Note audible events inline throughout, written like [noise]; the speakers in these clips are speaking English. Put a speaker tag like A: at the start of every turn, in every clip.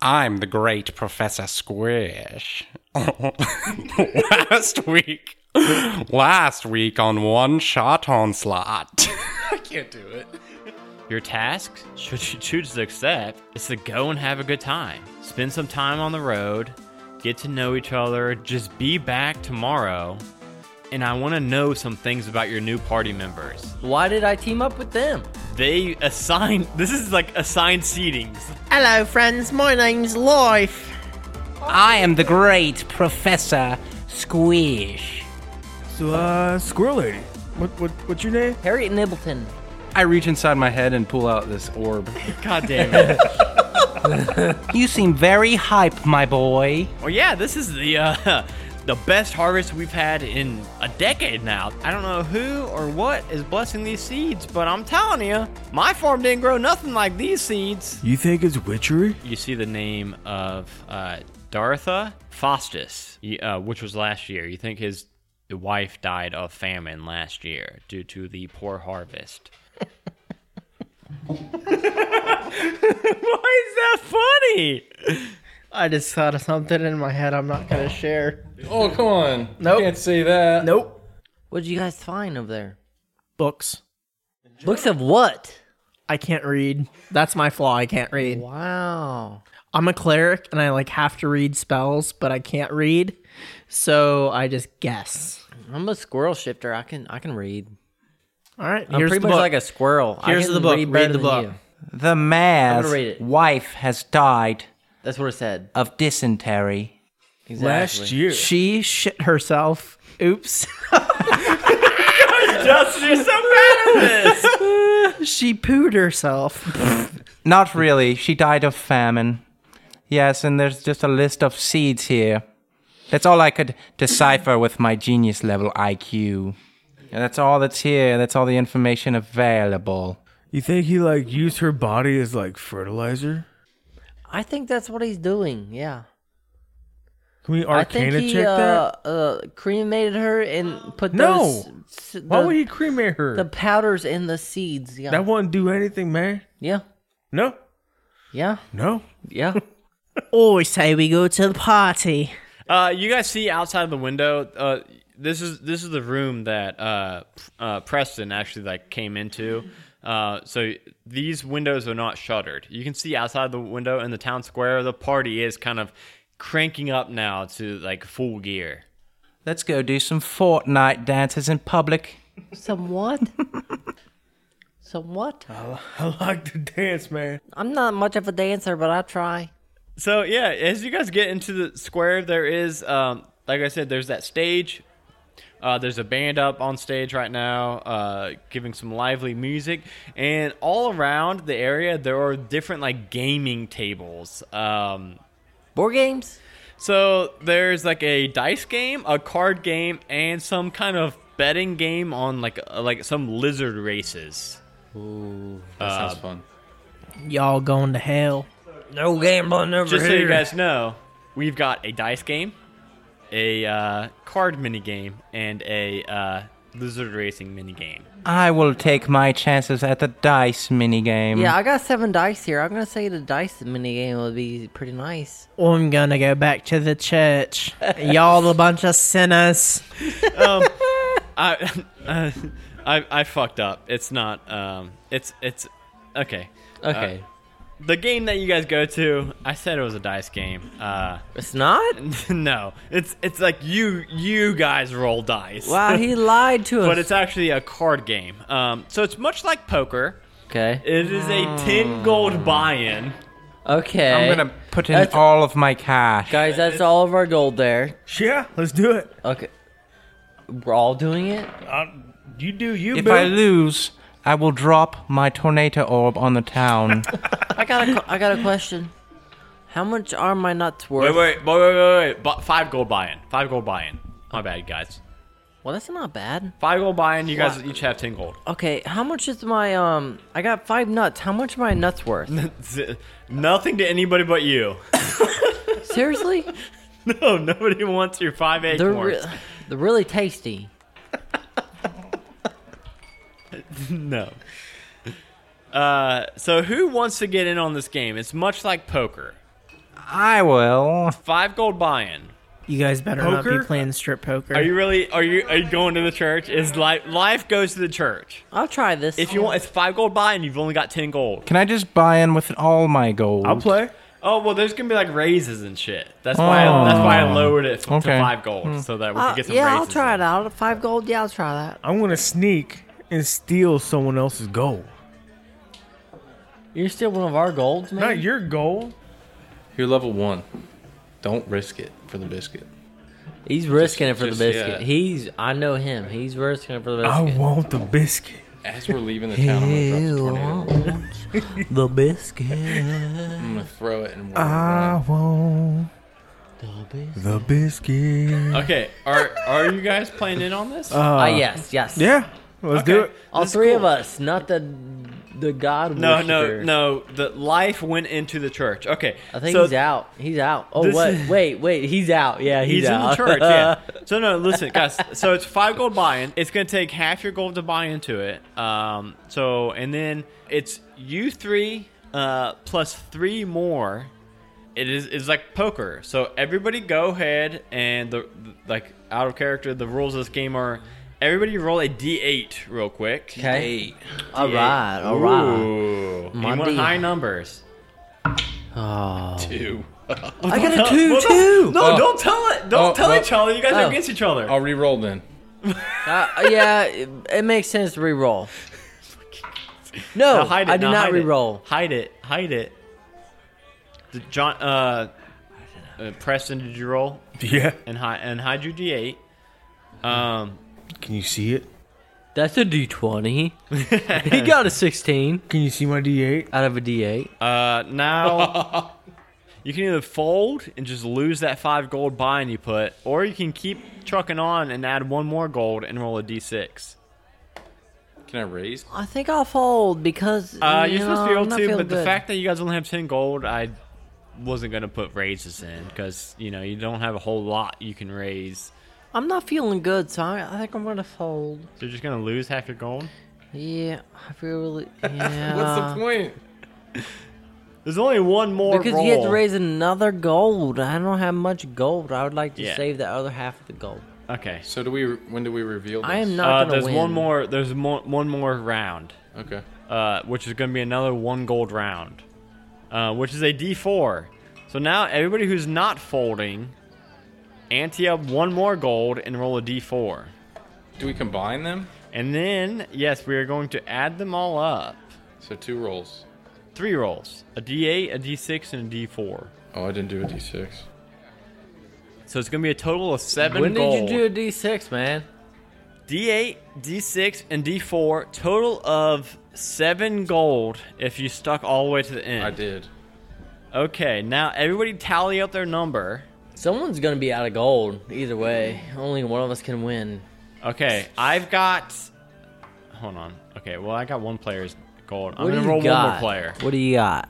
A: I'm the great Professor Squish. [laughs] last week, last week on One Shot Onslaught. [laughs] I can't do it.
B: Your task, [laughs] should you choose to accept, is to go and have a good time. Spend some time on the road, get to know each other, just be back tomorrow. And I want to know some things about your new party members.
C: Why did I team up with them?
B: They assign, [laughs] this is like assigned seatings.
D: Hello, friends. My name's Life.
E: I am the great Professor Squish.
F: So, uh, Squirrel Lady, what, what, what's your name?
C: Harriet Nibbleton.
G: I reach inside my head and pull out this orb.
B: God damn it.
E: You seem very hype, my boy.
B: well, Oh, yeah, this is the, uh, [laughs] the best harvest we've had in a decade now. I don't know who or what is blessing these seeds, but I'm telling you, my farm didn't grow nothing like these seeds.
F: You think it's witchery?
B: you see the name of uh, Dartha Faustus, y- uh, which was last year. You think his wife died of famine last year due to the poor harvest. [laughs] Why is that funny?
D: I just thought of something in my head I'm not going to share.
G: Oh, come on.
C: Nope.
G: Can't say that.
D: Nope.
C: What did you guys find over there?
D: Books.
C: Books of what?
D: I can't read. That's my flaw. I can't read.
C: Wow.
D: I'm a cleric and I like have to read spells, but I can't read. So I just guess.
C: I'm a squirrel shifter. I can I can read.
D: All right.
C: I'm
B: um,
D: here's
C: pretty
D: the
C: much
D: book.
C: like a squirrel. I
D: Here's
C: can
D: the book. Read
C: better
D: the
C: than
D: book.
C: you.
E: The
C: gonna read it.
E: mayor's wife has died
C: That's what it said.
E: of dysentery.
C: Exactly.
F: Last year.
D: she shit herself. Oops. [laughs]
B: You're so bad at this.
D: [laughs] she pooed herself.
E: Not really. She died of famine. Yes, and there's just a list of seeds here. That's all I could decipher with my genius level IQ. And that's all that's here. That's all the information available.
F: You think he, like, used her body as, like, fertilizer?
C: I think that's what he's doing. Yeah.
F: Can we
C: I think
F: arcana
C: he
F: check
C: uh,
F: that?
C: uh, cremated her and put
F: No!
C: those. s- The,
F: Why would he cremate her?
C: The powders and the seeds. Yeah.
F: that wouldn't do anything, man.
C: yeah.
F: No.
C: Yeah.
F: No.
C: Yeah.
D: Oh, say we go to the party.
B: Uh, you guys see outside the window. Uh, this is this is the room that uh, uh, Preston actually like came into. Uh, so these windows are not shuttered. You can see outside the window in the town square. The party is kind of cranking up now to like full gear.
E: Let's go do some Fortnite dances in public.
C: Some [laughs] what? Some what?
F: I like to dance, man.
C: Uh, I'm not much of a dancer, but I try.
B: So yeah, as you guys get into the square, there is um, like I said, there's that stage. Uh, there's a band up on stage right now, uh, giving some lively music, and all around the area there are different like gaming tables. Um,
C: Board games?
B: so there's like a dice game, a card game, and some kind of betting game on like uh, like some lizard races.
G: That sounds fun.
D: Y'all going to hell.
C: No gambling over
B: Just so you guys know, we've got a dice game, a uh, card mini game, and a uh, lizard racing mini game.
E: I will take my chances at the dice minigame.
C: Yeah, I got seven dice here. I'm gonna say the dice minigame would be pretty nice.
D: I'm gonna go back to the church. Y'all a bunch of sinners.
C: [laughs]
B: [laughs] I, uh, I I fucked up. It's not. Um, it's it's okay. Uh,
C: Okay,
B: The game that you guys go to, I said it was a dice game. Uh, [laughs]
C: it's not.
B: no, it's it's like you you guys roll dice.
C: [laughs] Wow, he lied to us.
B: But it's actually a card game. Um, so it's much like poker.
C: okay.
B: It is a 10 gold buy-in.
C: Okay.
E: I'm gonna put in
C: That's-
E: all of my cash.
C: Guys, that's all of our gold there.
F: Yeah, let's do it.
C: Okay. We're all doing it.
F: You do you,
E: If I lose, I will drop my tornado orb on the town.
C: I got a, I got a question. How much are my nuts worth?
B: Wait, wait, wait, wait, wait, wait. Bu- five gold buy-in. Five gold buy-in. My bad, guys.
C: Well, that's not bad.
B: Five gold buy-in. You guys each have ten gold. [laughs]
C: Okay, how much is my um? I got five nuts. How much are my nuts worth?
B: [laughs] Z- Nothing to anybody but you. [laughs]
C: Seriously,
B: No, nobody wants your five
C: they're
B: acorns.
C: re- they're really tasty.
B: no. Uh, so who wants to get in on this game? It's much like poker.
E: I will.
B: Five gold buy-in.
D: You guys better not
F: Poker?
D: be playing strip poker.
B: Are you really? Are you? Are you going to the church? Is life? Life goes to the church.
C: I'll try this.
B: If you want, it's five gold buy-in. You've only got ten gold.
E: Can I just buy in with all my gold?
F: I'll play.
B: Oh well, there's gonna be like raises and shit. That's why. I, that's why I lowered it f-
E: Okay.
B: to five gold so that we
C: Uh,
B: could get some
C: yeah,
B: raises.
C: I'll try
B: in.
C: it out. Five gold. Yeah, I'll try that.
F: I'm gonna sneak and steal someone else's gold.
C: You're still one of our golds, man.
F: Not your gold.
G: You're level one. Don't risk it for the biscuit.
C: He's risking it for
G: just-
C: the biscuit.
G: yeah.
C: He's. I know him. He's risking it for the
F: I
C: biscuit.
F: want the biscuit.
G: As we're leaving the town, I'm gonna drop the tornado.
C: the biscuit.
G: I'm gonna throw it and we're
F: I want
C: The biscuit.
F: the biscuit.
B: Okay. Are Are you guys playing in on this?
C: Ah, yes, yes.
F: Yeah, let's do it.
C: All
B: This is
C: three of
B: cool.
C: us, not the the God.
B: No, no,
C: worshiper.
B: no. The life went into the church. Okay.
C: I think
B: so
C: he's out. He's out. Oh
B: This
C: what?
B: is-
C: Wait, wait. He's out. Yeah, he's,
B: He's in the
C: out.
B: church, [laughs]
C: [laughs]
B: yeah. So no, listen, guys. So it's five gold buy-in. It's gonna take half your gold to buy into it. Um, so and then it's you three uh, plus three more. It is it's like poker. So everybody go ahead and the like out of character. The rules of this game are everybody roll a d8 real quick.
C: okay.
G: Eight.
C: All right. All right.
B: Ooh, you
C: My
B: want
C: dear.
B: high numbers.
G: Two.
C: I got a two
B: Well,
C: too.
B: No, don't tell it. Don't
G: oh,
B: tell
G: well,
B: each other. You guys
C: oh.
B: are against each other.
G: I'll re-roll then.
C: Uh, yeah, it, it makes sense
B: [laughs]
C: to re-roll. No,
B: No, hide it.
C: I did
B: no,
C: not
B: hide it.
C: re-roll.
B: Hide it. Hide it. Did John, uh, uh, Preston, did you roll
F: Yeah.
B: and hide and hide your D8? Um,
F: Can you see it?
C: That's a D twenty.
F: [laughs]
C: he got a sixteen
F: Can you see my D8?
C: out of a D eight.
B: uh, now
C: [laughs]
B: you can either fold and just lose that five gold bind you put, or you can keep trucking on and add one more gold and roll a D6.
G: Can I raise?
C: I think I'll fold because
B: Uh,
C: you
B: you're supposed to
C: know,
B: be
C: I'm
B: able
C: not
B: to,
C: feeling
B: but the
C: good.
B: fact that you guys only have 10 gold, I wasn't going to put raises in because, you know, you don't have a whole lot you can raise.
C: I'm not feeling good, so I, I think I'm gonna fold.
B: So you're just going to lose half your gold?
C: Yeah, I feel
B: [laughs]
C: really. Yeah.
G: What's the point?
B: There's only one more
C: Because
B: roll.
C: you have to raise another gold. I don't have much gold. I would like to
B: Yeah.
C: save the other half of the gold.
B: Okay.
G: So do we? When do we reveal? This?
C: I am not
B: Uh,
C: gonna
B: there's
C: win.
B: one more. There's more, one more round,
G: Okay.
B: uh, which is going to be another one gold round, uh, which is a D4. So now everybody who's not folding, ante up one more gold and roll a D4,
G: Do we combine them?
B: and then yes, we are going to add them all up.
G: So two rolls.
B: Three rolls: a D8, a D6, and a D4.
G: Oh, I didn't do a d6.
B: So it's going to be a total of seven.
C: When
B: gold.
C: did you do a D six, man?
B: D8, D6, and D4, total of seven gold if you stuck all the way to the end.
G: I did.
B: Okay, now everybody tally up their number.
C: Someone's gonna be out of gold either way. Only one of us can win.
B: Okay, I've got. Hold on. Okay, well, I got one player's gold. I'm
C: What
B: going
C: do you
B: to roll one
C: got?
B: more player.
C: What do you got?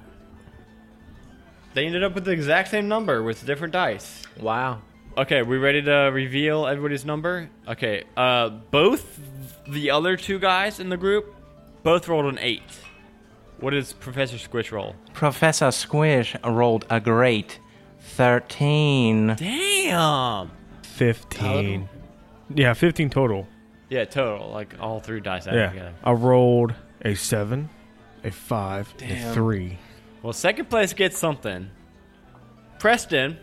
B: They ended up with the exact same number with different dice.
C: Wow.
B: Okay, we ready to reveal everybody's number? Okay, uh, both the other two guys in the group both rolled an eight. What does Professor Squish roll?
E: Professor Squish rolled a great 13.
B: Damn!
F: 15. Yeah, 15 total.
B: Yeah, total. Like all three dice added
F: Yeah.
B: together.
F: I rolled a 7, a 5, a 3.
B: Well, second place gets something. Preston,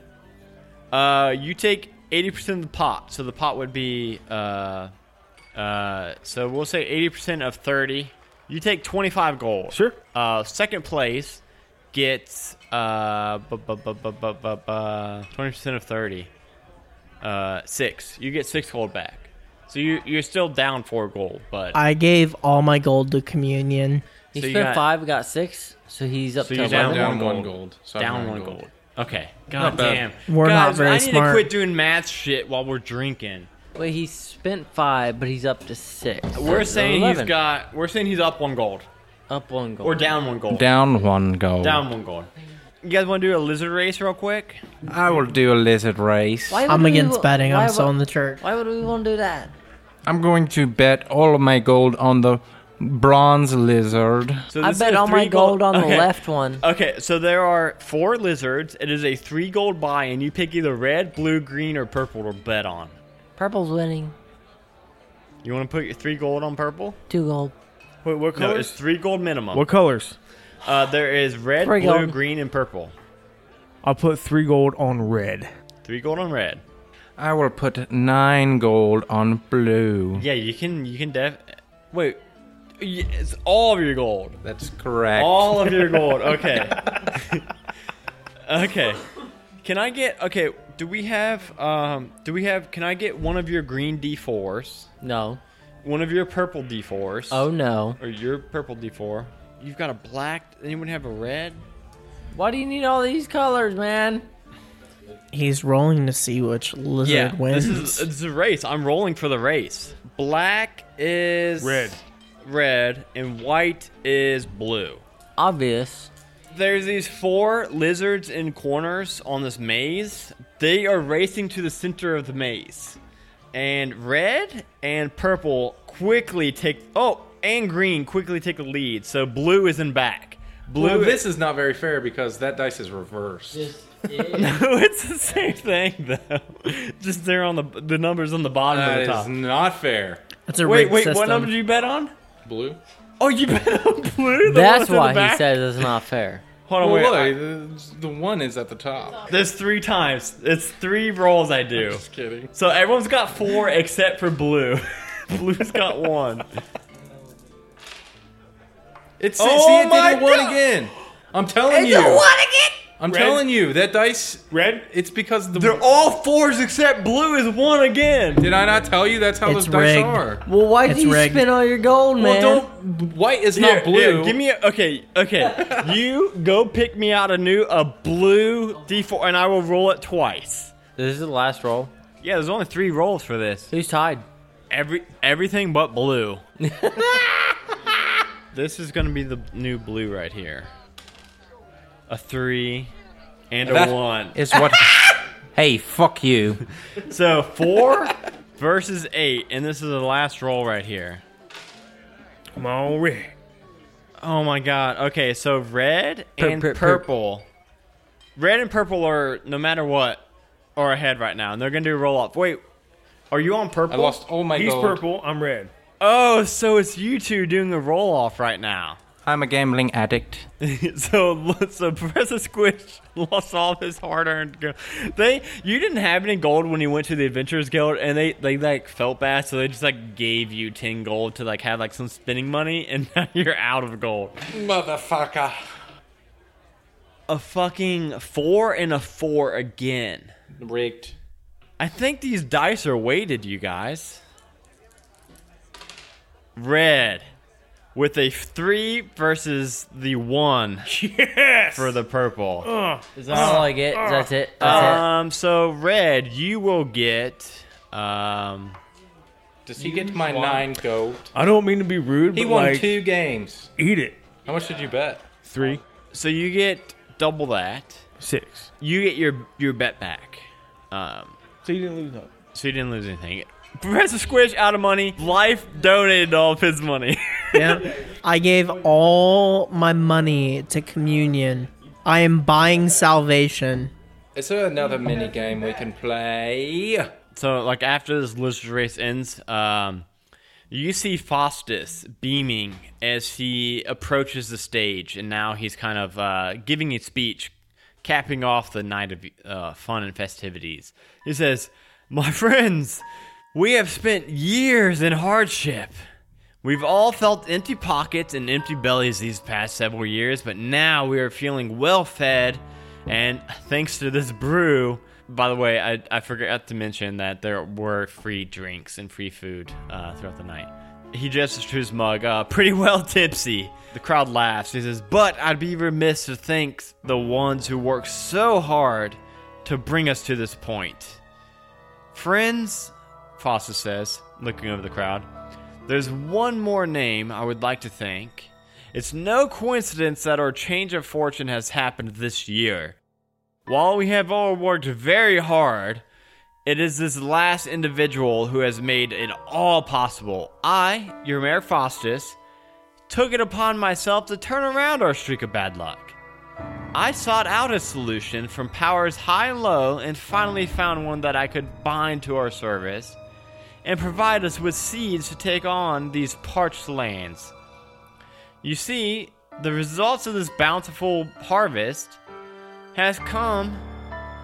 B: uh, you take 80% of the pot. So the pot would be. Uh, uh, so we'll say 80% of 30. You take 25 gold.
F: Sure.
B: Uh, second place gets uh, bu- bu- bu- bu- bu- bu- bu- 20% of 30. Uh, six. You get six gold back. So you, you're still down four gold, but.
D: I gave all my gold to communion.
C: He
B: So you
C: spent
B: got-
C: five, we got six, so he's up
B: So
C: to
B: you're
G: I'm
B: down
C: 11.
G: down
B: one
G: one gold.
B: gold.
G: So I'm
B: down
G: nine
B: one gold. Okay. God
G: bad.
B: damn.
D: We're not
B: Guys,
D: very
B: I need to
D: smart.
B: quit doing math shit while we're drinking.
C: Wait, he spent five, but he's up to six.
B: We're
C: So
B: saying
C: 11.
B: he's got. We're saying he's up one gold
C: up one gold.
B: or down one gold.
E: Down one gold.
B: Down one gold. You guys want to do a lizard race real quick?
E: I will do a lizard race.
C: Why
D: I'm
C: would
D: against
C: we,
D: betting.
C: Why
D: I'm
C: would,
D: still in the church.
C: Why would we want to do that?
E: I'm going to bet all of my gold on the Bronze lizard.
B: So
C: I
B: this is
C: bet
B: a
C: all my
B: three gold-
C: gold on the
B: Okay. Uh,
C: left one.
B: Okay, so there are four lizards. It is a three gold buy, and you pick either red, blue, green, or purple to bet on.
C: Purple's winning.
B: You want to put your three gold on purple?
C: Two gold.
F: Wait, what
B: No, it's
F: colors?
B: three gold minimum.
F: what colors?
B: Uh, there is red,
C: Three
B: blue,
C: gold.
B: green, and purple.
F: I'll put three gold on red.
B: Three gold on red.
E: I will put nine gold on blue.
B: Yeah, you can. You can def. Wait, Y- it's all of your gold.
E: That's correct.
B: All of your
E: [laughs]
B: gold. Okay. okay. Can I get okay? Do we have um? Do we have? Can I get one of your green D fours?
C: No.
B: One of your purple D fours?
C: Oh no.
B: Or your purple D four? You've got a black. Anyone have a red?
C: Why do you need all these colors, man?
D: He's rolling to see which lizard wins.
B: This is it's a race. I'm rolling for the race. Black is
F: Red.
B: Red and white is blue. [laughs]
C: Obvious.
B: There's these four lizards in corners on this maze. They are racing to the center of the maze. And red and purple quickly take oh, and green quickly take the lead. So blue is in back. Blue
G: Well, this is not very fair because that dice is reversed.
B: [laughs] it's the same thing though. [laughs] Just they're on the the numbers on the bottom
G: That
B: of the
G: is
B: top.
G: not fair.
D: It's a
B: Wait,
D: rigged
B: wait, what
D: system.
B: number did you bet on?
G: Blue.
B: Oh, you [laughs] bet on blue. The
C: That's
B: ones in the
C: why he
B: back?
C: says it's not fair.
B: Hold on,
G: Oh,
B: wait.
G: look,
B: I-
G: the, the one is at the top.
B: there's three times. It's three rolls I do.
G: Just kidding.
B: So everyone's got four except for blue. [laughs] Blue's got one.
G: It's
B: Oh
G: see, it
B: my
G: did the one
B: God.
G: again. I'm telling you. I'm telling you that dice.
B: Red.
G: It's because the.
B: They're all fours except blue is one again.
G: did I not tell you that's how
D: It's
G: those dice
D: rigged.
G: are?
C: [laughs] Well, why
D: It's
C: did you
D: rigged.
C: spend all your gold, man?
G: Well, don't. White is
B: Here,
G: not blue.
B: here, give me a okay, okay.
G: [laughs]
B: you go pick me out a new a blue D4 and I will roll it twice.
C: This is the last roll.
B: Yeah, there's only three rolls for this.
C: Who's tied?
B: Every everything but
G: [laughs]
B: blue. this is gonna be the new blue right here. A three and a
E: That
B: one. [laughs]
E: Is what. hey, fuck you.
B: So
G: [laughs]
B: four versus eight, and this is the last roll right here.
F: Come on, red.
B: Oh my god. Okay, so red and
C: purp, purp.
B: purple. Red and purple are no matter what are ahead right now, and they're gonna do a roll off. Wait, are you on purple?
G: I lost all my
F: He's
G: gold.
F: purple. I'm red.
B: Oh, so it's you two doing the roll off right now.
E: I'm a gambling addict.
B: [laughs] so so Professor Squish lost all of his hard-earned gold. They you didn't have any gold when you went to the Adventurers Guild, and they they like felt bad, so they just like gave you ten gold to like have like some spending money, [laughs] and now you're out of gold.
G: Motherfucker.
B: A fucking four and a four again.
G: Rigged.
B: I think these dice are weighted, you guys. Red with a three versus the one
F: Yes.
B: for the purple.
C: Is that all I get? That's it. That's
B: Um. So red, you will get. Um.
G: Does he get my nine gold?
F: I don't mean to be rude,
G: He
F: but
G: won
F: like,
G: two games.
F: eat it.
G: How much did you bet?
F: Three,
B: So you get double that.
F: six.
B: You get your your bet back. Um.
F: So you didn't lose nothing.
B: So you didn't lose anything. Professor Squish out of money. Life donated all of his money. [laughs]
D: Yeah. I gave all Oh, my money to communion. I am buying salvation.
G: Is there another mini game we can play?
B: so like after this lizard race ends, um, you see Faustus beaming as he approaches the stage, and now he's kind of uh, giving a speech, capping off the night of uh, fun and festivities. He says, "My friends, we have spent years in hardship." We've all felt empty pockets and empty bellies these past several years, but now we are feeling well fed, and thanks to this brew. By the way, I, I forgot to mention that there were free drinks and free food uh, throughout the night. He gestures to his mug, uh, pretty well tipsy. The crowd laughs. He says, But I'd be remiss to thank the ones who worked so hard to bring us to this point. Friends, Foster says, looking over the crowd, there's one more name I would like to thank. It's no coincidence that our change of fortune has happened this year. While we have all worked very hard, it is this last individual who has made it all possible. I, your Mayor Faustus, took it upon myself to turn around our streak of bad luck. I sought out a solution from powers high and low and finally found one that I could bind to our service and provide us with seeds to take on these parched lands. You see, the results of this bountiful harvest has come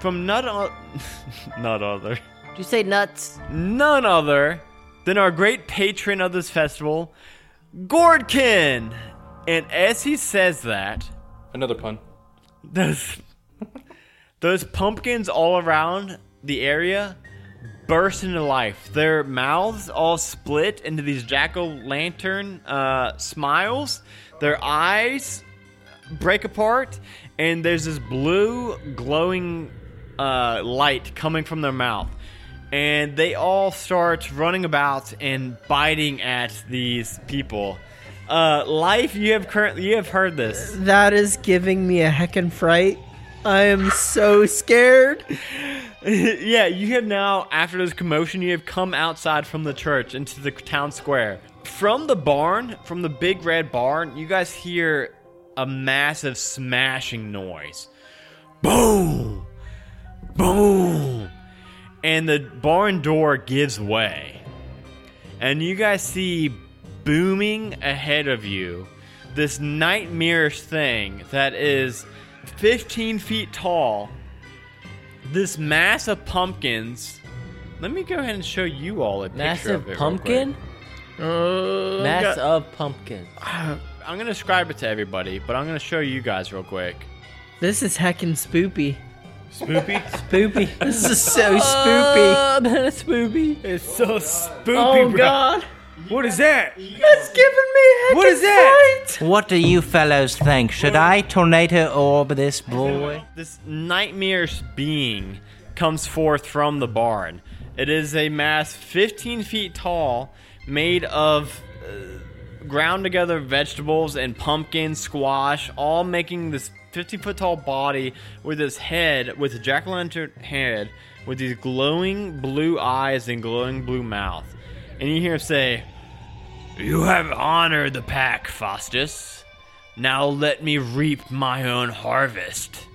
B: from none, o- [laughs] none other,
C: Did you say nuts?
B: none other than our great patron of this festival, Gordkin. And as he says that,
G: Another pun.
B: those those pumpkins all around the area burst into life. Their mouths all split into these jack o' lantern uh, smiles. Their eyes break apart, and there's this blue glowing uh, light coming from their mouth. And they all start running about and biting at these people. Uh, life, you have currently you have heard this.
D: That is giving me a heckin' fright. I am so scared.
B: [laughs] yeah, you have now, after this commotion, you have come outside from the church into the town square. From the barn, from the big red barn, you guys hear a massive smashing noise. Boom! Boom! And the barn door gives way. And you guys see booming ahead of you this nightmarish thing that is 15 feet tall this mass of pumpkins. Let me go ahead and show you all a picture of
C: Massive
B: it real Uh,
C: pumpkin? Mass of pumpkin.
B: quick. I'm gonna describe it to everybody, but I'm gonna show you guys real quick.
D: This is heckin' spoopy.
G: Spoopy.
D: Spoopy. This is so spoopy.
B: [laughs]
C: Uh, [laughs]
F: It's so spooky,
D: Oh
F: bro.
D: god.
F: What is that?
D: That's giving me a heckin'
F: What is that?
D: fright.
E: What do you fellows think? Should I tornado orb this boy?
B: This nightmarish being comes forth from the barn. It is a mass 15 feet tall, made of uh, ground together vegetables and pumpkin, squash, all making this 50 foot tall body with this head, with a jack o' lantern head, with these glowing blue eyes and glowing blue mouth. And you hear him say, You have honored the pack, Faustus. Now let me reap my own harvest.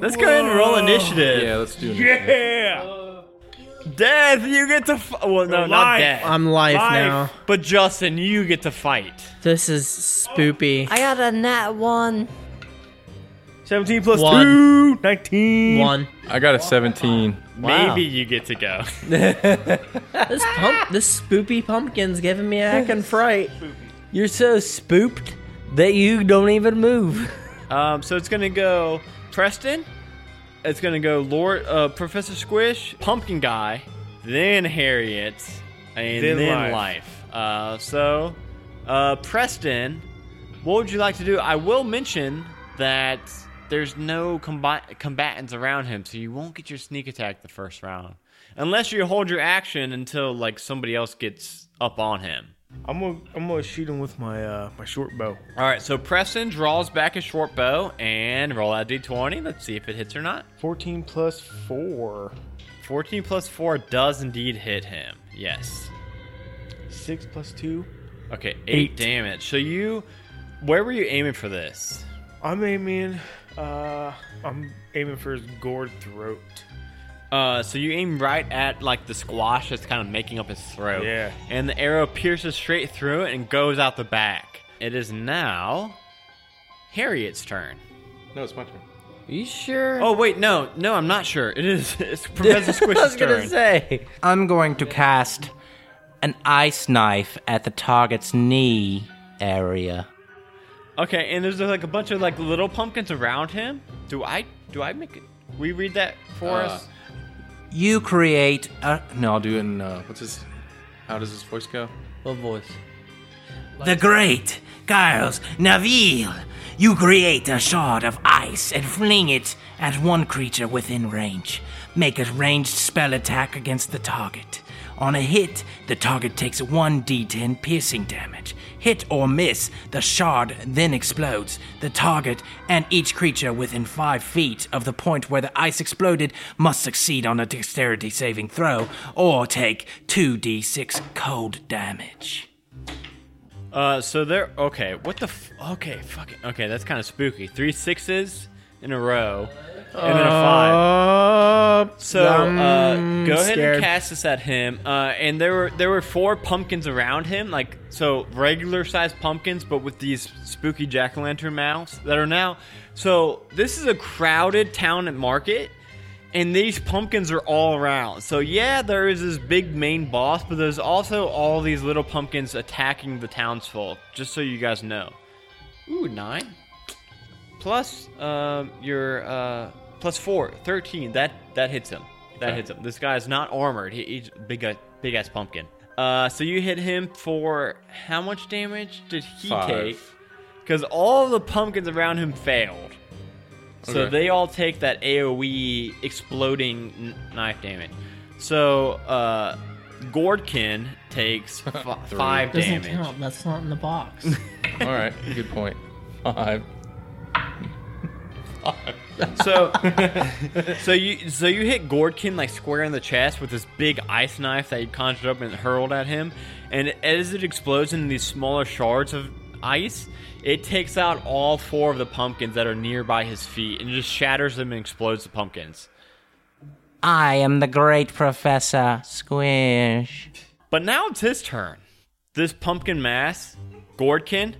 B: Let's go ahead and roll initiative.
G: Yeah, let's do it.
F: Yeah.
B: Death, you get to. F- well, no, not
F: Life.
B: death.
D: I'm live
F: Life.
D: now.
B: but Justin, you get to fight.
D: This is spoopy.
C: I got a nat one.
F: 17 plus
D: One.
F: 2, 19.
D: One.
G: I got a 17.
B: Maybe you get to go.
D: This pump, this spoopy pumpkin's giving me a heckin' fright.
C: You're so spooped that you don't even move.
B: Um, so it's gonna go Preston. It's gonna go Lord uh, Professor Squish, Pumpkin Guy, then Harriet, and then,
F: Then
B: life. Uh, so, uh, Preston, what would you like to do? I will mention that there's no combat- combatants around him, so you won't get your sneak attack the first round, unless you hold your action until like somebody else gets up on him.
F: I'm gonna I'm gonna shoot him with my uh my short bow.
B: All right, so Preston draws back his short bow and roll out d20. Let's see if it hits or not.
F: 14 plus 4,
B: 14 plus 4 does indeed hit him. Yes.
F: 6 plus 2.
B: Okay, 8,
F: Eight.
B: damage. So you where were you aiming for this?
F: I'm aiming uh I'm aiming for his gored throat.
B: Uh, so you aim right at like the squash that's kind of making up his throat.
F: Yeah.
B: And the arrow pierces straight through it and goes out the back. It is now Harriet's turn.
G: No, it's my turn.
C: you sure?
B: Oh wait, no, no, I'm not sure. It is [laughs]
C: [laughs]
B: it's Professor
C: I was
B: Squish's
C: gonna
B: turn.
C: say.
E: I'm going to cast an ice knife at the target's knee area.
B: Okay, and there's like a bunch of like little pumpkins around him. Do I do I make it? We read that for
G: Uh,
B: us.
E: You create a
G: No, I'll do it in. Uh, what's his. How does his voice go?
C: What voice?
E: The great Giles Naville. You create a shard of ice and fling it at one creature within range. Make a ranged spell attack against the target. On a hit, the target takes 1d10 piercing damage. Hit or miss, the shard then explodes. The target and each creature within 5 feet of the point where the ice exploded must succeed on a dexterity saving throw or take 2d6 cold damage.
B: Uh, so they're okay. What the? F- okay, fucking. Okay, that's kind of spooky. Three sixes in a row, and then a five.
F: Uh,
B: So uh,
F: I'm
B: go ahead
F: scared.
B: and cast this at him. Uh, and there were there were four pumpkins around him, like so regular sized pumpkins, but with these spooky jack o' lantern mouths that are now. So this is a crowded town and market, and these pumpkins are all around. So yeah, there is this big main boss, but there's also all these little pumpkins attacking the townsfolk. Just so you guys know. Ooh, nine plus um, your uh, plus four, 13. That that hits him. That hits him. This guy is not armored. He, he's a big big ass pumpkin. Uh, so you hit him for how much damage did he
G: Five.
B: take? Because all the pumpkins around him failed, so
G: Okay.
B: they all take that AOE exploding n- knife damage. So uh, Gordkin
G: [laughs]
B: takes f- five
D: Doesn't
B: damage.
D: count. That's not in
B: [laughs]
D: the box.
G: All right, good point. Five.
B: So, so you so you hit Gordkin like square in the chest with this big ice knife that you conjured up and hurled at him, and as it explodes into these smaller shards of ice, it takes out all four of the pumpkins that are nearby his feet and just shatters them and explodes the pumpkins.
E: I am the great professor Squish.
B: But now it's his turn. This pumpkin mass, Gordkin,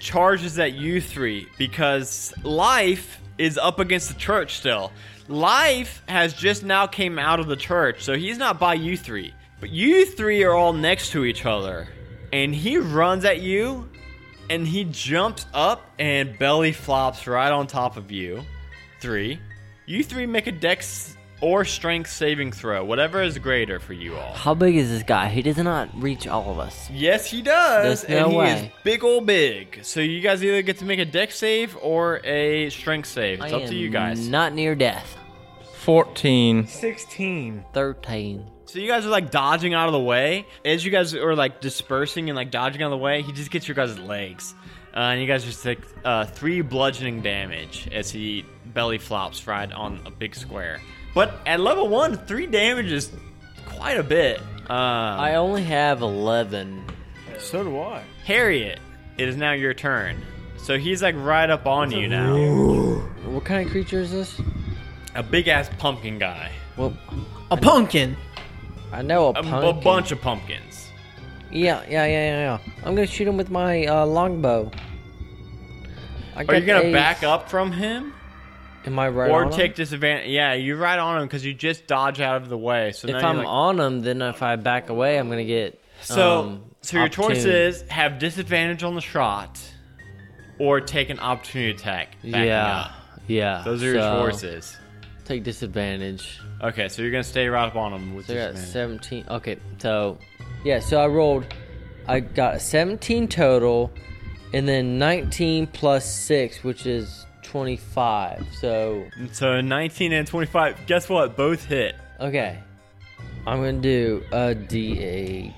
B: charges at you three because life is up against the church still. Life has just now came out of the church, so he's not by you three. But you three are all next to each other. And he runs at you and he jumps up and belly flops right on top of you. Three. You three make a dex or strength saving throw, whatever is greater for you all.
C: How big is this guy? He does not reach all of us.
B: Yes, he does.
C: There's no
B: and he is
C: way.
B: big ol' big. So you guys either get to make a deck save or a strength save. It's
C: I
B: up to
C: am
B: you guys.
C: Not near death.
G: 14.
F: 16.
C: Thirteen.
B: so you guys are like dodging out of the way. As you guys are like dispersing and like dodging out of the way, he just gets your guys' legs. Uh, and you guys just take uh, three bludgeoning damage as he belly flops right on a big square. But at level one, three damage is quite a bit. Uh,
C: I only have eleven.
F: So do I.
B: Harriet, it is now your turn. So he's like right up on you now.
C: What kind of creature is this?
B: A big ass pumpkin guy.
C: Well,
D: a pumpkin.
C: I know a
B: A, a
C: pumpkin.
B: bunch of pumpkins.
C: Yeah, yeah, yeah, yeah, yeah. I'm gonna shoot him with my uh, longbow. I
B: Are you
C: got
B: gonna
C: a-
B: back up from him
C: Am I right
B: or
C: on him?
B: take disadvantage? Yeah, you're right on him because you just dodge out of the way. So
C: If
B: now
C: I'm
B: you're like-
C: on him, then if I back away, I'm gonna get.
B: so
C: um,
B: so your choice
C: opportunity.
B: is have disadvantage on the shot, or take an opportunity attack. backing
C: Yeah,
B: up.
C: yeah.
B: those are
C: so,
B: your choices.
C: Take disadvantage.
B: Okay, so you're gonna stay right up on him with
C: So I got
B: disadvantage.
C: 17. Okay, so yeah, so I rolled. I got 17 total, and then 19 plus six, which is 25. So
B: So 19 and 25. Guess what? Both hit.
C: okay, I'm gonna do a D8.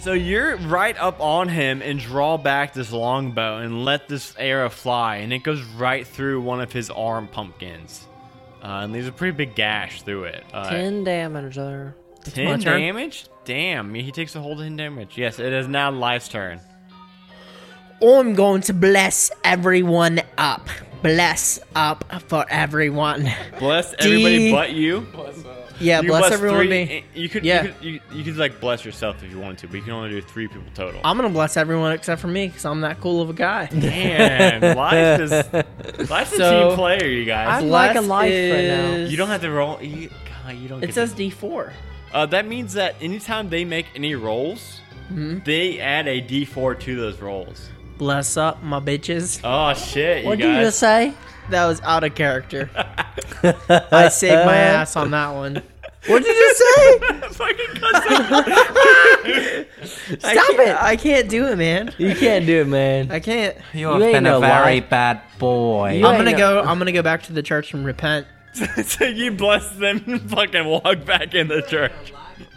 B: So you're right up on him and draw back this longbow and let this arrow fly, and it goes right through one of his arm pumpkins. Uh, and leaves a pretty big gash through it. Uh,
C: 10 damage there.
B: ten
D: my turn.
B: damage? Damn, he takes a whole 10 damage. Yes, it is now Life's turn.
D: Oh, I'm going to bless everyone up. Bless up for everyone.
B: Bless everybody
D: D-
B: but you.
D: Yeah,
B: You
D: bless,
B: bless
D: everyone.
B: three-
D: me.
B: You could,
D: Yeah.
B: you, could you, you could like bless yourself if you wanted to, but you can only do three people total.
D: I'm gonna bless everyone except for me because I'm that cool of a guy. [laughs]
B: Damn, life is life's a
D: So-
B: team player, you guys.
D: I'm
C: like a
D: Bless
C: life right now.
D: is-
B: you don't have to roll. You, God, you don't. get
D: It
B: to
D: says D4.
B: Uh, that means that anytime they make any rolls, they add a d4 to those rolls.
D: Bless up, my bitches.
B: Oh shit, you
C: What did you
B: guys. [laughs]
C: just say?
D: That was out of character. I saved my ass on that one.
B: [laughs]
C: What did you just say? [laughs]
B: Fucking cuss out.
D: I
C: Stop
D: can't-
C: it.
D: I can't do it, man.
C: you can't do it, man.
D: I can't.
E: You have
C: ain't
E: been a
C: no
E: very
C: life.
E: bad boy.
C: You
D: I'm
C: ain't
D: gonna
C: no-
D: go. I'm gonna go back to the church and repent.
B: [laughs] so you bless them and [laughs] fucking walk back in the church.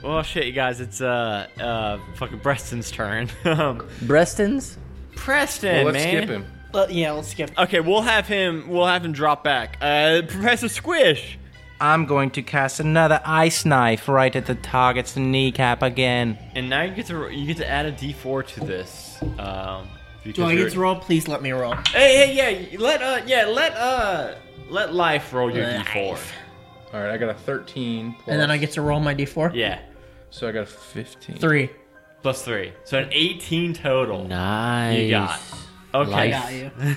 B: Well, shit, you guys, it's uh, uh, fucking Preston's turn. [laughs] Um,
C: Breston's?
B: Preston,
G: Well, let's
B: man.
G: skip him.
D: But yeah, let's skip.
B: Okay, we'll have him. We'll have him drop back. Uh, Professor Squish,
E: I'm going to cast another ice knife right at the target's kneecap again.
B: And now you get to you get to add a D4 to this. Um,
D: Do I get to roll? Please let me roll.
B: Hey, hey, yeah. Let uh, yeah, let uh, let life roll your D4.
G: All right, I got a 13. Plus,
D: And then I get to roll my d4.
B: Yeah,
G: So I got a 15.
D: Three.
B: plus three, so an 18 total.
C: Nice.
B: You got. Okay.
C: Life.
D: Got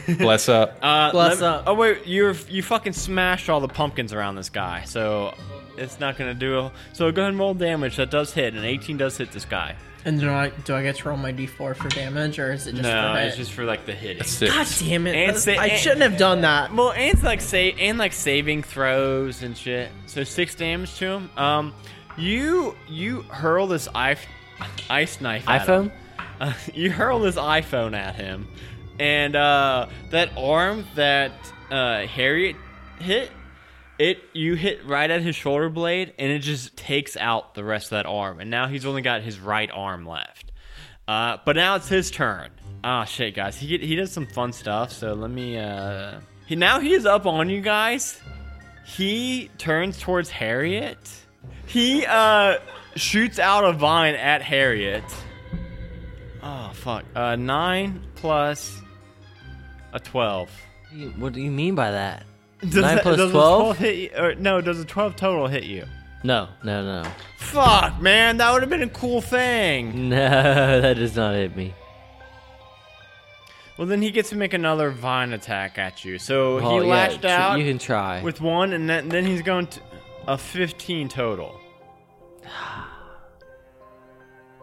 D: you.
G: Bless up.
B: Uh,
D: Bless
B: lem-
D: up.
B: Oh wait, you you fucking smashed all the pumpkins around this guy, so it's not gonna do. So go ahead and roll damage. That does hit, and 18 does hit this guy.
D: And do I do I get to roll my d4 for damage, or is it just
B: no,
D: for hit?
B: it's just for like the hitting.
G: Six.
D: God damn it!
B: And
D: That's-
B: say-
D: I
B: and-
D: shouldn't have done that.
B: Well, and it's like say and like saving throws and shit. So six damage to him. Um, you you hurl this ice ice knife. at him. [laughs]
C: iPhone?
B: Uh, you hurl this iPhone at him, and uh, that arm that uh, Harriet hit, it you hit right at his shoulder blade, and it just takes out the rest of that arm, and now he's only got his right arm left. Uh, but now it's his turn. Ah, shit, guys, he he does some fun stuff. So let me. Uh, he, now he is up on you guys. He turns towards Harriet. He uh, shoots out a vine at Harriet. Oh fuck. Uh, nine plus a twelve.
C: What do you mean by that?
B: Does
C: Nine
B: that-
C: plus
B: does a
C: 12?
B: hit you? Or, no, does a twelve total hit you?
C: No, no, no.
B: Fuck, man, that would have been a cool thing.
C: No, [laughs] that does not hit me.
B: Well, then he gets to make another vine attack at you. So
C: Oh,
B: he
C: yeah,
B: lashed
C: tr-
B: out
C: You can try.
B: with one, and then, then he's going to a fifteen total.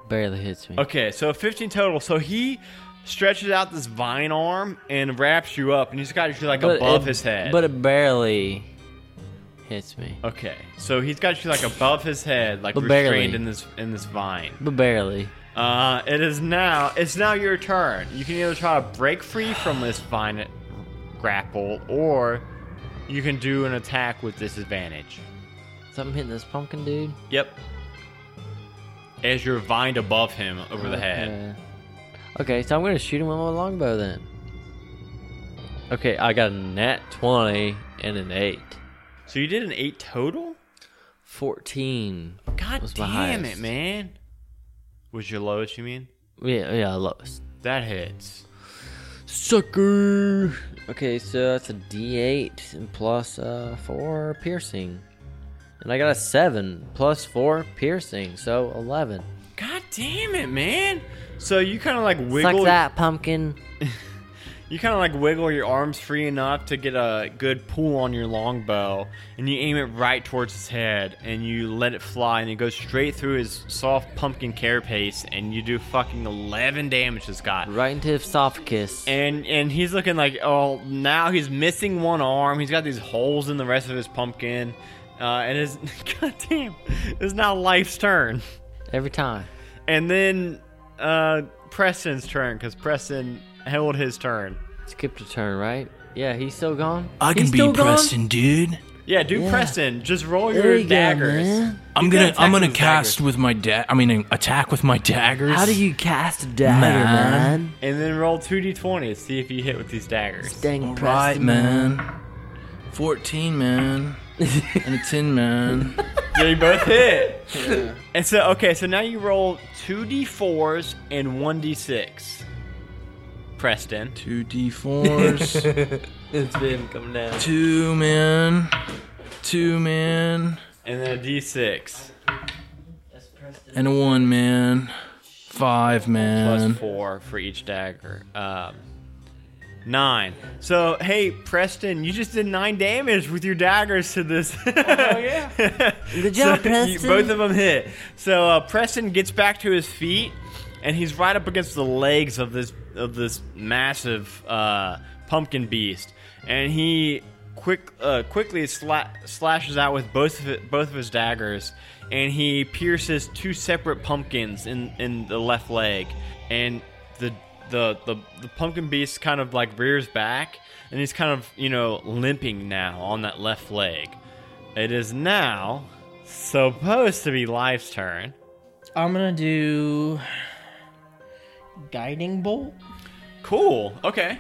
C: Barely hits me.
B: Okay, so 15 total. So he stretches out this vine arm and wraps you up, and he's got you like above
C: it-
B: his head.
C: But it barely hits me.
B: okay, so he's got you like above his head, like
C: But barely.
B: restrained in this in this vine.
C: But barely.
B: Uh, it is now. It's now your turn. You can either try to break free from this vine grapple, or you can do an attack with disadvantage.
C: Something hitting this pumpkin dude.
B: Yep. As you're vined above him over the head.
C: Okay. Okay, so I'm gonna shoot him with my longbow then. Okay, I got a nat 20 and an 8.
B: So you did an eight total.
C: 14.
B: God
C: was my
B: damn it,
C: highest.
B: man. Was your lowest, you mean?
C: Yeah, yeah, lowest.
B: That hits.
C: Sucker! Okay, so that's a d8 and plus uh, 4 piercing. And I got a 7 plus 4 piercing, so 11.
B: God damn it, man. So you kind of like
C: Suck
B: wiggle.
C: that, pumpkin.
B: You kind of like wiggle your arms free enough to get a good pull on your longbow, and you aim it right towards his head, and you let it fly, and it goes straight through his soft pumpkin carapace, and you do fucking eleven damage to this guy.
C: Right into his esophagus.
B: And and he's looking like oh now he's missing one arm. He's got these holes in the rest of his pumpkin, uh, and his [laughs] goddamn it's now life's turn.
C: Every time.
B: And then uh, Preston's turn because Preston held his turn.
C: Skipped a turn, right? Yeah, he's still gone?
H: I can
C: He's
H: be
C: still gone?
H: Preston, dude.
B: Yeah, do Preston. Just roll
C: There
B: your
C: you go,
B: daggers.
C: man.
H: I'm
B: gotta
H: gonna I'm
B: attack
H: gonna
B: with
H: cast with my da- I mean attack with my daggers.
C: How do you cast a dagger,
H: Man.
C: man?
B: and then roll two d20 to see if you hit with these daggers.
C: Dang
H: All right,
C: Preston.
H: man. Fourteen, man.
C: [laughs]
H: and a ten, man.
B: yeah, you both hit. [laughs] And so okay, so now you roll two d4s and one d6. Preston.
H: Two D fours.
C: [laughs] It's been coming down.
H: two, man. Two, man.
B: And then a d6
H: And a one, man. Five,
C: Um.
B: plus
H: man.
B: four for each dagger. Um, nine. So hey, Preston, you just did nine damage with your daggers to this. oh [laughs] yeah.
C: Good job,
B: So, you-
C: Preston.
B: both of them hit. So uh, Preston gets back to his feet, and he's right up against the legs of this of this massive uh, pumpkin beast, and he quick uh, quickly sla- slashes out with both of it, both of his daggers, and he pierces two separate pumpkins in in the left leg, and the the, the, the pumpkin beast kind of like rears back and he's kind of you know limping now on that left leg it is now supposed to be Life's turn.
D: I'm gonna do guiding bolt.
B: Cool. Okay.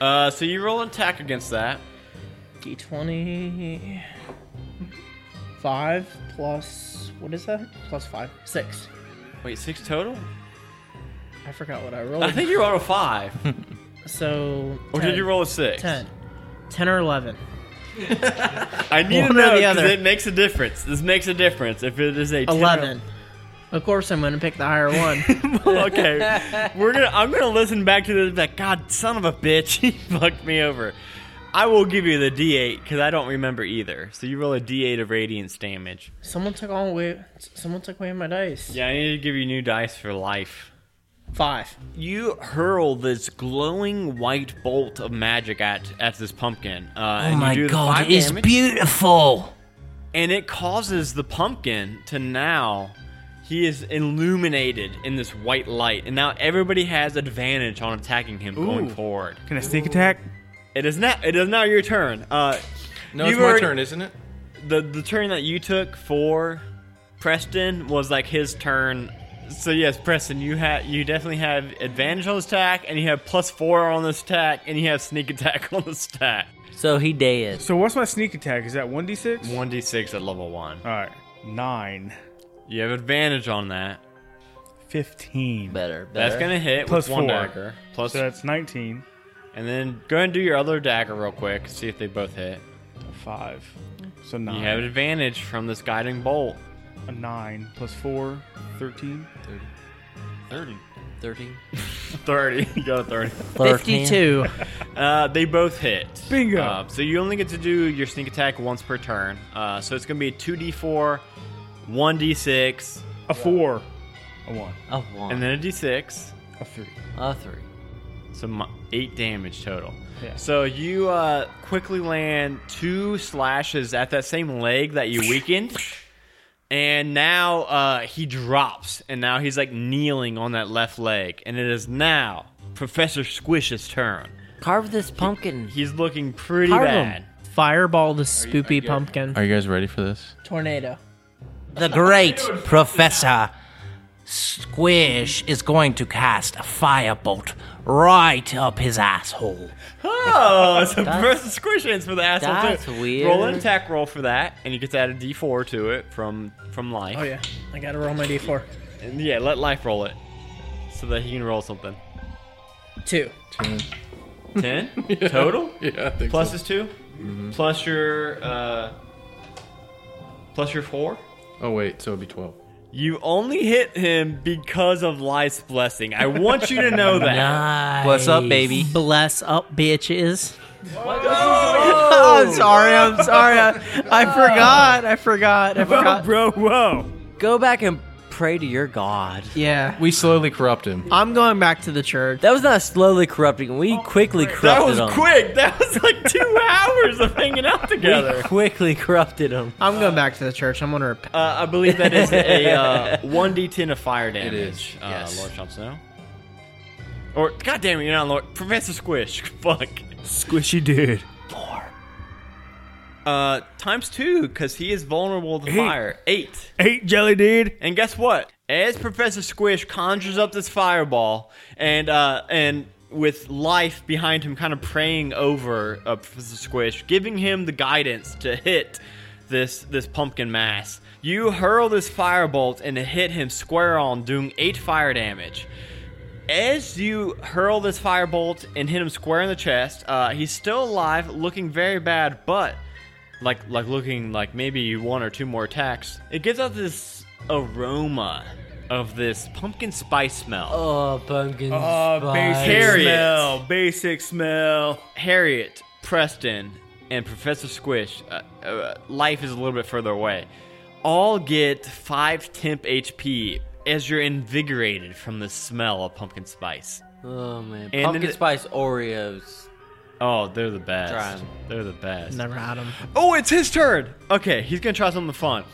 B: Uh, so you roll an attack against that.
D: d20. Five plus what is that? Plus five, six.
B: Wait, six total?
D: I forgot what I
B: I
D: rolled.
B: think you rolled a
D: [laughs]
B: five.
D: So
B: Or did you roll a six?
D: ten? Ten or eleven?
B: I need to
D: One or
B: know
D: the
B: because
D: other.
B: it makes a difference. This makes a difference. If it is a 10 or-
D: Eleven. Of course, I'm going to pick the higher one.
B: [laughs] okay, we're gonna. I'm gonna listen back to this. Like, God, son of a bitch, [laughs] he fucked me over. I will give you the D8 because I don't remember either. So you roll a D8 of radiance damage.
D: someone took all away. Someone took away my dice.
B: Yeah, I need to give you new dice for life.
D: Five.
B: You hurl this glowing white bolt of magic at at this pumpkin. Uh, and you do the five damage.
E: beautiful.
B: and it causes the pumpkin to now he is illuminated in this white light and now everybody has advantage on attacking him going forward
I: Can I sneak attack?
B: it is now it is now your turn uh
G: No,
B: You've
G: it's my
B: already-
G: turn, isn't it?
B: the the turn that you took for preston was like his turn so yes preston you had you definitely have advantage on this attack and you have plus four on this attack and you have sneak attack [laughs] on this attack
C: So he dead.
I: So what's my sneak attack? Is that 1d6?
B: 1d6 at level 1
I: All right. 9.
B: you have advantage on that
I: 15.
C: Better.
B: that's
C: better.
B: gonna hit
I: Plus
B: with one
I: four.
B: dagger plus
I: So that's 19.
B: And then go ahead and do your other dagger real quick. See if they both hit.
I: 5. So 9.
B: You have an advantage from this guiding bolt. [laughs]
I: A 9 plus 4. 13.
B: 30.
C: 30. [laughs]
B: [laughs] 30. You got a 30.
D: Fifty-two.
B: Uh, they both hit.
I: Bingo.
B: Uh, so you only get to do your sneak attack once per turn. Uh, so it's going to be 2d4, 1d6,
I: A 4. A 1.
C: A one.
B: and then a d6.
I: A 3.
C: a three.
B: So mi- eight damage total.
I: Yeah.
B: So you uh, quickly land two slashes at that same leg that you weakened, and now uh, he drops, and now he's like kneeling on that left leg, and it is now Professor Squish's turn.
C: Carve this pumpkin.
B: He's looking pretty
D: Carve him.
B: bad.
D: Fireball the spoopy pumpkin.
G: Are you guys ready for this?
D: Tornado.
E: The great Professor Squish is going to cast a firebolt right up his asshole.
B: Oh, so Professor Squish is for the asshole
C: that's
B: too.
C: weird.
B: Roll an attack roll for that, and you get to add a D4 to it from from life.
D: Oh yeah, I gotta roll my d4.
B: And yeah, let life roll it, so that he can roll something.
D: Two.
B: Ten total.
G: [laughs] Yeah, I think
B: Plus is 2 plus your uh, plus your four.
G: Oh wait, so it'd be twelve.
B: You only hit him because of Life's blessing. I want you to know
C: [laughs]
B: that.
E: What's up, baby?
D: Bless up, bitches. [laughs] I'm sorry. I'm sorry. I, I forgot. I forgot. I forgot.
B: Bro, whoa!
C: Go back and pray to your god.
D: Yeah.
G: We slowly corrupt him.
D: I'm going back to the church.
C: That was not slowly corrupting. We quickly
B: Oh, That
C: corrupted
B: was
C: him.
B: quick. That was like two [laughs] hours of hanging out
C: We
B: together.
C: [laughs] quickly corrupted him.
D: I'm going back to the church. I'm gonna repent.
B: Uh, I believe that is [laughs] a uh, one d10 of fire damage.
G: is,
B: uh,
G: yes.
B: Lord Chomp Snow. Or goddamn it, you're not Lord Professor Squish. [laughs] Fuck.
I: [laughs] Squishy dude.
B: Uh, times two because he is vulnerable to fire. Eight.
I: 8 jelly dude.
B: And guess what? As Professor Squish conjures up this fireball, and uh, and with life behind him, kind of praying over uh, Professor Squish, giving him the guidance to hit this this pumpkin mass. You hurl this firebolt and hit him square on, doing eight fire damage. As you hurl this firebolt and hit him square in the chest, uh, he's still alive, looking very bad, but like like looking like maybe one or two more attacks. It gives out this aroma of this pumpkin spice smell.
C: Oh, pumpkin
I: Uh, basic
B: Harriet.
I: smell. Basic smell.
B: Harriet, Preston, and Professor Squish. Uh, uh, life is a little bit further away. All get five temp HP as you're invigorated from the smell of pumpkin spice.
C: Oh man,
B: then
C: pumpkin
B: it-
C: spice Oreos.
B: Oh, they're the best.
C: Try 'em.
B: They're the best.
D: Never had him.
B: Oh, it's his turn. Okay, he's gonna try something fun.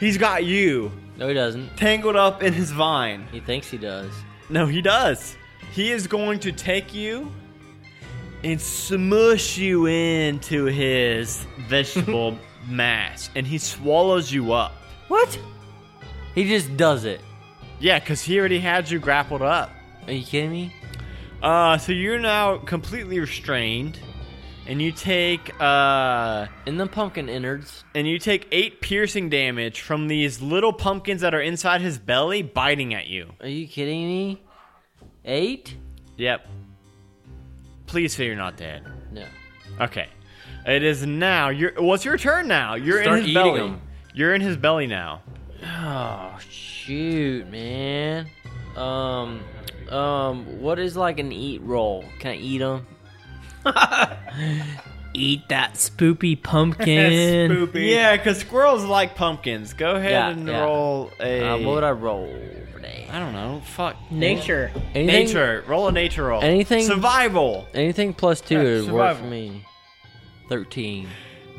B: He's got you
C: No, he doesn't.
B: tangled up in his vine.
C: He thinks he does.
B: No, he does. He is going to take you and smush you into his [laughs] vegetable mass, and he swallows you up.
C: What? He just does it.
B: Yeah, because he already had you grappled up.
C: Are you kidding me?
B: Uh, so you're now completely restrained, and you take uh
C: In the pumpkin innards.
B: and you take eight piercing damage from these little pumpkins that are inside his belly biting at you.
C: Are you kidding me? Eight?
B: Yep. Please say you're not dead.
C: No.
B: Okay. It is now. Your well, it's your turn now. You're
G: Start
B: in his
G: eating
B: belly.
G: them.
B: You're in his belly now.
C: Oh shoot, man. Um, um, what is like an eat roll? Can I eat them?
D: Eat that spoopy [laughs] pumpkin.
B: Yeah, because squirrels like pumpkins. Go ahead
C: Yeah,
B: and
C: yeah.
B: roll a.
C: Uh, what would I roll today?
B: I don't know. Fuck.
D: Nature.
C: Anything,
B: Nature. Roll a nature roll.
C: Anything-
B: Survival.
C: Anything plus two would work for
F: survival.
C: me. Thirteen.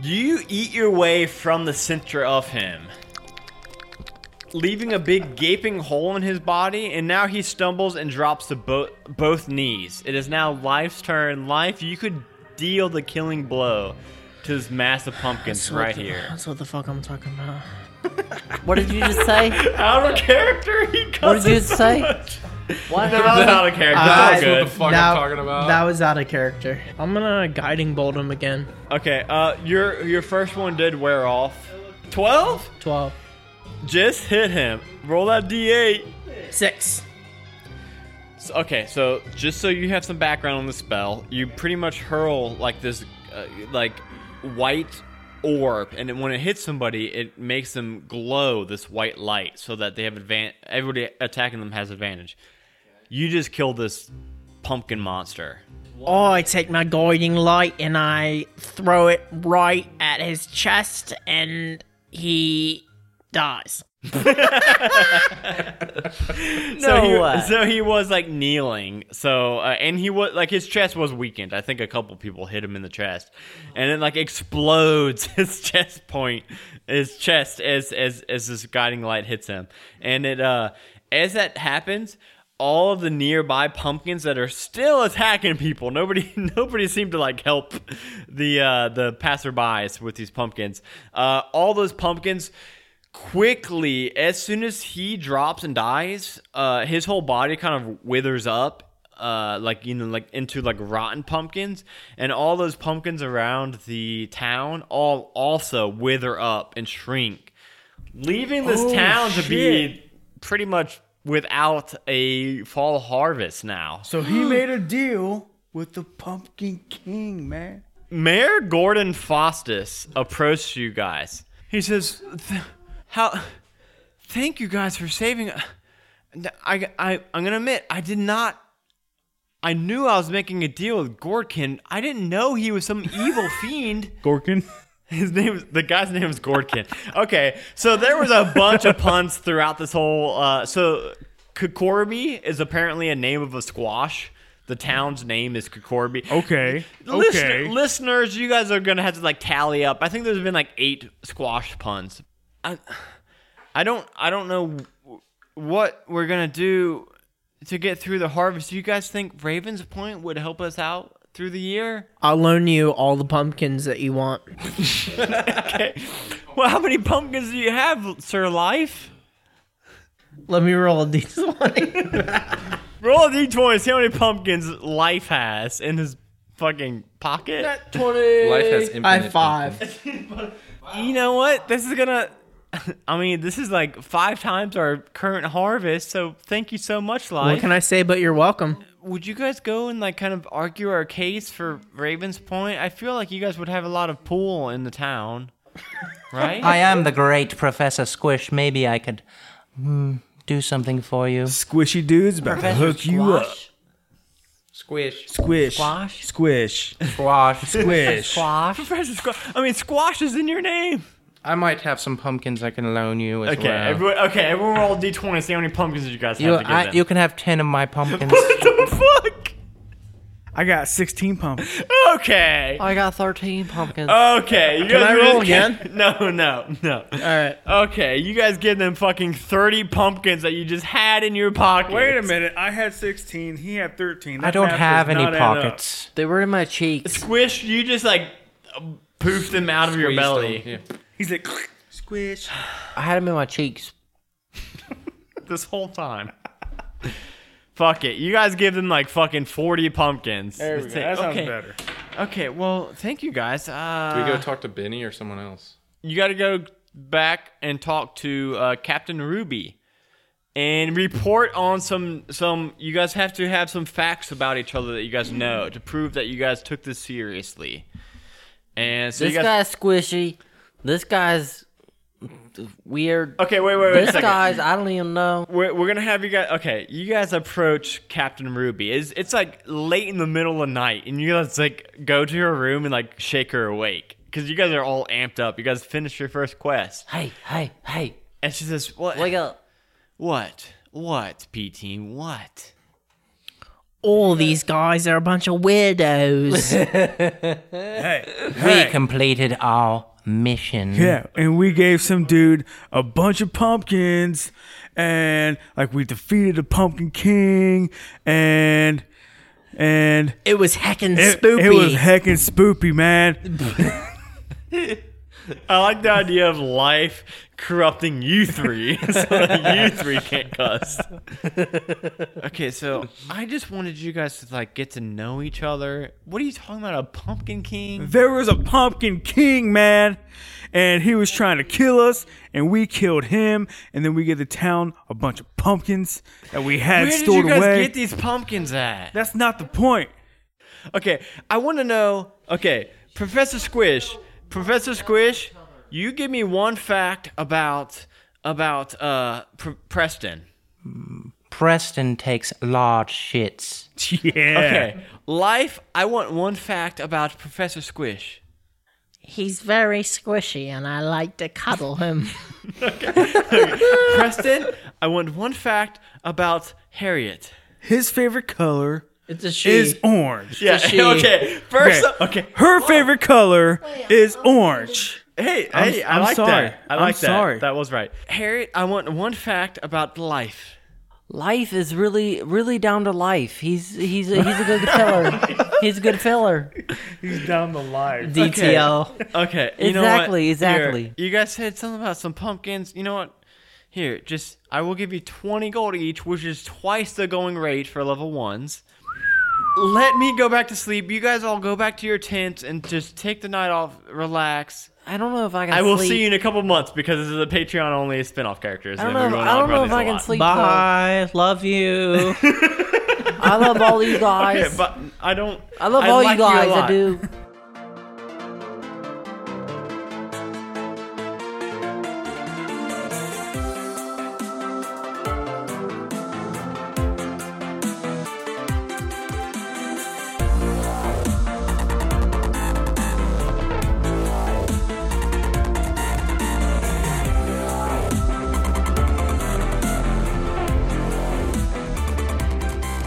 B: You eat your way from the center of him, leaving a big gaping hole in his body, and now he stumbles and drops to bo- both knees. It is now Life's turn. Life, you could deal the killing blow to this mass of pumpkins right here.
D: That's what the fuck I'm talking about.
C: What did you just [laughs] say?
B: Out of character, [laughs] he
C: what did you
B: cusses
C: just say? [laughs] What?
B: out of character.
D: Uh,
B: All good.
G: fuck I'm
D: that,
G: talking about?
D: That was out of character. I'm gonna guiding bolt him again.
B: Okay, uh, your your first one did wear off. Twelve
D: Twelve.
B: just hit him. Roll that d8.
D: Six.
B: So- Okay, so just so you have some background on the spell, you pretty much hurl like this, uh, like white orb, and then when it hits somebody, it makes them glow this white light, so that they have advan Everybody attacking them has advantage. You just killed this pumpkin monster.
D: Oh, I take my guiding light and I throw it right at his chest, and he dies.
B: so he,
C: No way.
B: so he was like kneeling. So uh, and he was like his chest was weakened. I think a couple people hit him in the chest, and it like explodes [laughs] his chest point, his chest as as as this guiding light hits him. And it uh as that happens, all of the nearby pumpkins that are still attacking people. Nobody [laughs] nobody seemed to like help the uh the passerbys with these pumpkins. Uh, all those pumpkins quickly as soon as he drops and dies uh his whole body kind of withers up uh like you know like into like rotten pumpkins and all those pumpkins around the town all also wither up and shrink leaving this
I: Oh,
B: town to be pretty much without a fall harvest now [gasps]
I: So he made a deal with the Pumpkin King, man.
B: Mayor Gordon Faustus approached you guys. He says, "Th- "How? Thank you guys for saving. I, I, I'm gonna admit, I did not. I knew I was making a deal with Gordkin. I didn't know he was some evil fiend.
I: Gorkin.
B: His name is the guy's name is Gordkin. Okay, so there was a bunch of puns throughout this whole. Uh, so Kokorbi is apparently a name of a squash. The town's name is Kokorbi.
F: Oh, [laughs]
I: Okay.
B: Listener-
I: Okay.
B: listeners, you guys are gonna have to like tally up. I think there's been like eight squash puns. I, I don't, I don't know what we're gonna do to get through the harvest. Do you guys think Raven's Point would help us out through the year?
D: I'll loan you all the pumpkins that you want.
B: Okay. Well, how many pumpkins do you have, Sir Life?
D: Let me roll these [laughs] one.
B: Roll a d20. See how many pumpkins Life has in his fucking pocket.
G: Life has infinite.
D: I have five.
B: You know what? This is gonna. [laughs] I mean, this is like five times our current harvest. So thank you so much,
D: What
B: Life.
D: can I say? But you're welcome.
B: Would you guys go and like kind of argue our case for Ravens Point? I feel like you guys would have a lot of pool in the town, right?
E: I am the great Professor Squish. Maybe I could mm, do something for you.
I: Squishy dude's about to hook you up.
E: Squish.
I: Squish.
C: Squash?
I: Squish.
E: Squash.
I: Squish.
C: Squash?
B: Professor Squash. I mean, Squash is in your name.
E: I might have some pumpkins I can loan you as
B: Okay,
E: well.
B: everyone. Okay, everyone roll d twenty. See how many pumpkins you guys have
E: you,
B: to give
E: I-
B: them.
E: you can have ten of my
B: [laughs]
E: pumpkins.
G: [laughs]
B: what the fuck?
I: I got 16 pumpkins.
B: Okay.
C: I got thirteen pumpkins.
B: Uh, Okay, you guys
D: I
B: were
D: roll
B: just-
D: again?
B: [laughs] No, no, no. All
D: right.
B: Okay, you guys give them fucking thirty pumpkins that you just had in your pocket.
F: Wait a minute. I had 16. He had 13.
E: I
F: That
E: don't
F: math
E: have
F: does
E: any
F: not add up.
E: pockets.
C: they were in my cheeks.
B: Squish, you just like poofed them out of your belly.
F: He's like, squish.
C: I had them in my cheeks.
B: This whole
F: [laughs]
B: time. Fuck it, you guys give them like fucking forty pumpkins.
F: There we go.
B: That's it.
F: That sounds
B: okay.
F: better.
B: Okay, well, thank you guys. Uh,
G: Do we go talk to Benny or someone else?
B: you got to go back and talk to uh, Captain Ruby and report on some some you guys have to have some facts about each other that you guys know to prove that you guys took this seriously. And so
C: This
B: you guys
C: guy's squishy. This guy's weird.
B: Okay, wait, wait, wait. a
C: this
B: second.
C: guy's I don't even know.
B: We're, we're gonna have you guys. Okay, you guys approach Captain Ruby. It's it's like late in the middle of the night, and you guys like go to her room and like shake her awake because you guys are all amped up. You guys finished your first quest,
C: Hey, hey, hey,
B: and she says, "What?
C: wake up.
B: What? What? P team? What?"
D: All these guys are a bunch of [laughs] weirdos.
E: We completed our mission.
I: Yeah, and we gave some dude a bunch of pumpkins, and like we defeated the pumpkin king, and and
D: it was heckin'
I: it,
D: spoopy.
I: it was heckin' spoopy, man.
B: I like the idea of life corrupting you three, [laughs] so that you three can't cuss. Okay, so I just wanted you guys to like get to know each other. What are you talking about? A pumpkin king?
I: There was a pumpkin king, man, and he was trying to kill us, and we killed him, and then we gave the town a bunch of pumpkins that we had
B: Where did
I: stored
B: you guys
I: away.
B: get these pumpkins at?
I: That's not
B: [laughs]
I: the point.
B: Okay, I want to know. Okay, Professor Squish, Professor Squish, you give me one fact about about uh Pre- Preston.
E: Preston takes large shits.
I: Yeah.
B: Okay, life. I want one fact about Professor Squish.
D: He's very squishy, and I like to
B: [laughs]
D: cuddle him.
B: Preston, I want one fact about Harriet.
I: His favorite color
C: It's a she.
I: is orange.
B: Yeah. [laughs]
C: she-
B: Okay. First.
I: Okay.
B: Okay.
I: Her favorite color is orange.
B: Hey.
I: I'm-
B: hey. i
I: I'm
B: like
I: sorry.
B: that. I
I: I'm
B: like that.
I: sorry.
B: That was right. Harriet, I want one fact about life.
C: Life is really, really down to life. He's he's a, he's a good feller.
B: [laughs]
C: he's a good feller.
F: He's down the line.
D: DTL.
B: Okay. You know
C: Exactly,
B: what? Here,
C: exactly.
B: you guys said something about some pumpkins. You know what? Here, just I will give you twenty gold each, which is twice the going rate for level ones. Let me go back to sleep. You guys all go back to your tents and just take the night off, relax.
C: I don't know if I can.
B: I will
C: sleep.
B: see you in a couple months because this is a Patreon only spin-off characters.
C: I don't know. If, I don't know if I can sleep. till-
D: Bye. Love you.
C: I love all
B: [laughs]
C: you guys.
B: Okay, but I don't.
C: I love all
B: like
C: you guys.
B: a
C: I
B: lot. [laughs]
C: do.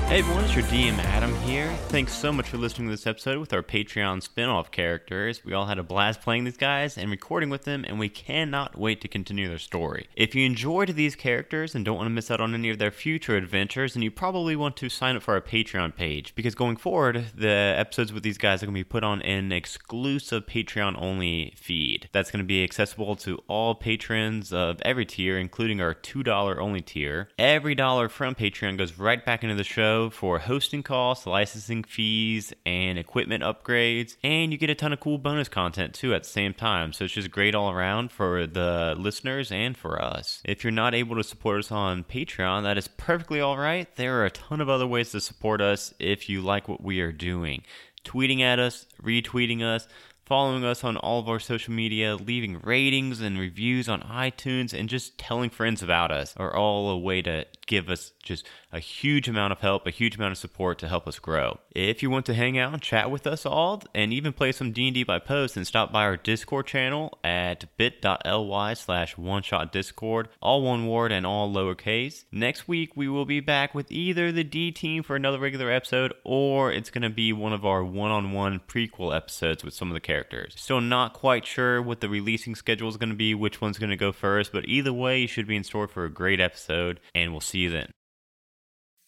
B: Hey everyone, it's your DM Adam here. Thanks so much for listening to this episode with our Patreon spin-off characters. We all had a blast playing these guys and recording with them, and we cannot wait to continue their story. If you enjoyed these characters and don't want to miss out on any of their future adventures, and you probably want to sign up for our Patreon page, because going forward, the episodes with these guys are going to be put on an exclusive Patreon-only feed. That's going to be accessible to all patrons of every tier, including our $2 only tier. Every dollar from Patreon goes right back into the show for hosting costs, licensing fees, and equipment upgrades. And you get a ton of cool bonus content too at the same time. So it's just great all around for the listeners and for us. If you're not able to support us on Patreon, that is perfectly all right. There are a ton of other ways to support us if you like what we are doing. Tweeting at us, retweeting us, following us on all of our social media, leaving ratings and reviews on iTunes, and just telling friends about us are all a way to give us just a huge amount of help, a huge amount of support to help us grow. If you want to hang out and chat with us all, and even play some D&D by post, then stop by our Discord channel at bit.ly slash one shot discord, all one word and all lowercase. Next week, we will be back with either the D team for another regular episode, or it's going to be one of our one on one prequel episodes with some of the characters. Still not quite sure what the releasing schedule is going to be, which one's going to go first, but either way, you should be in store for a great episode, and we'll see you then.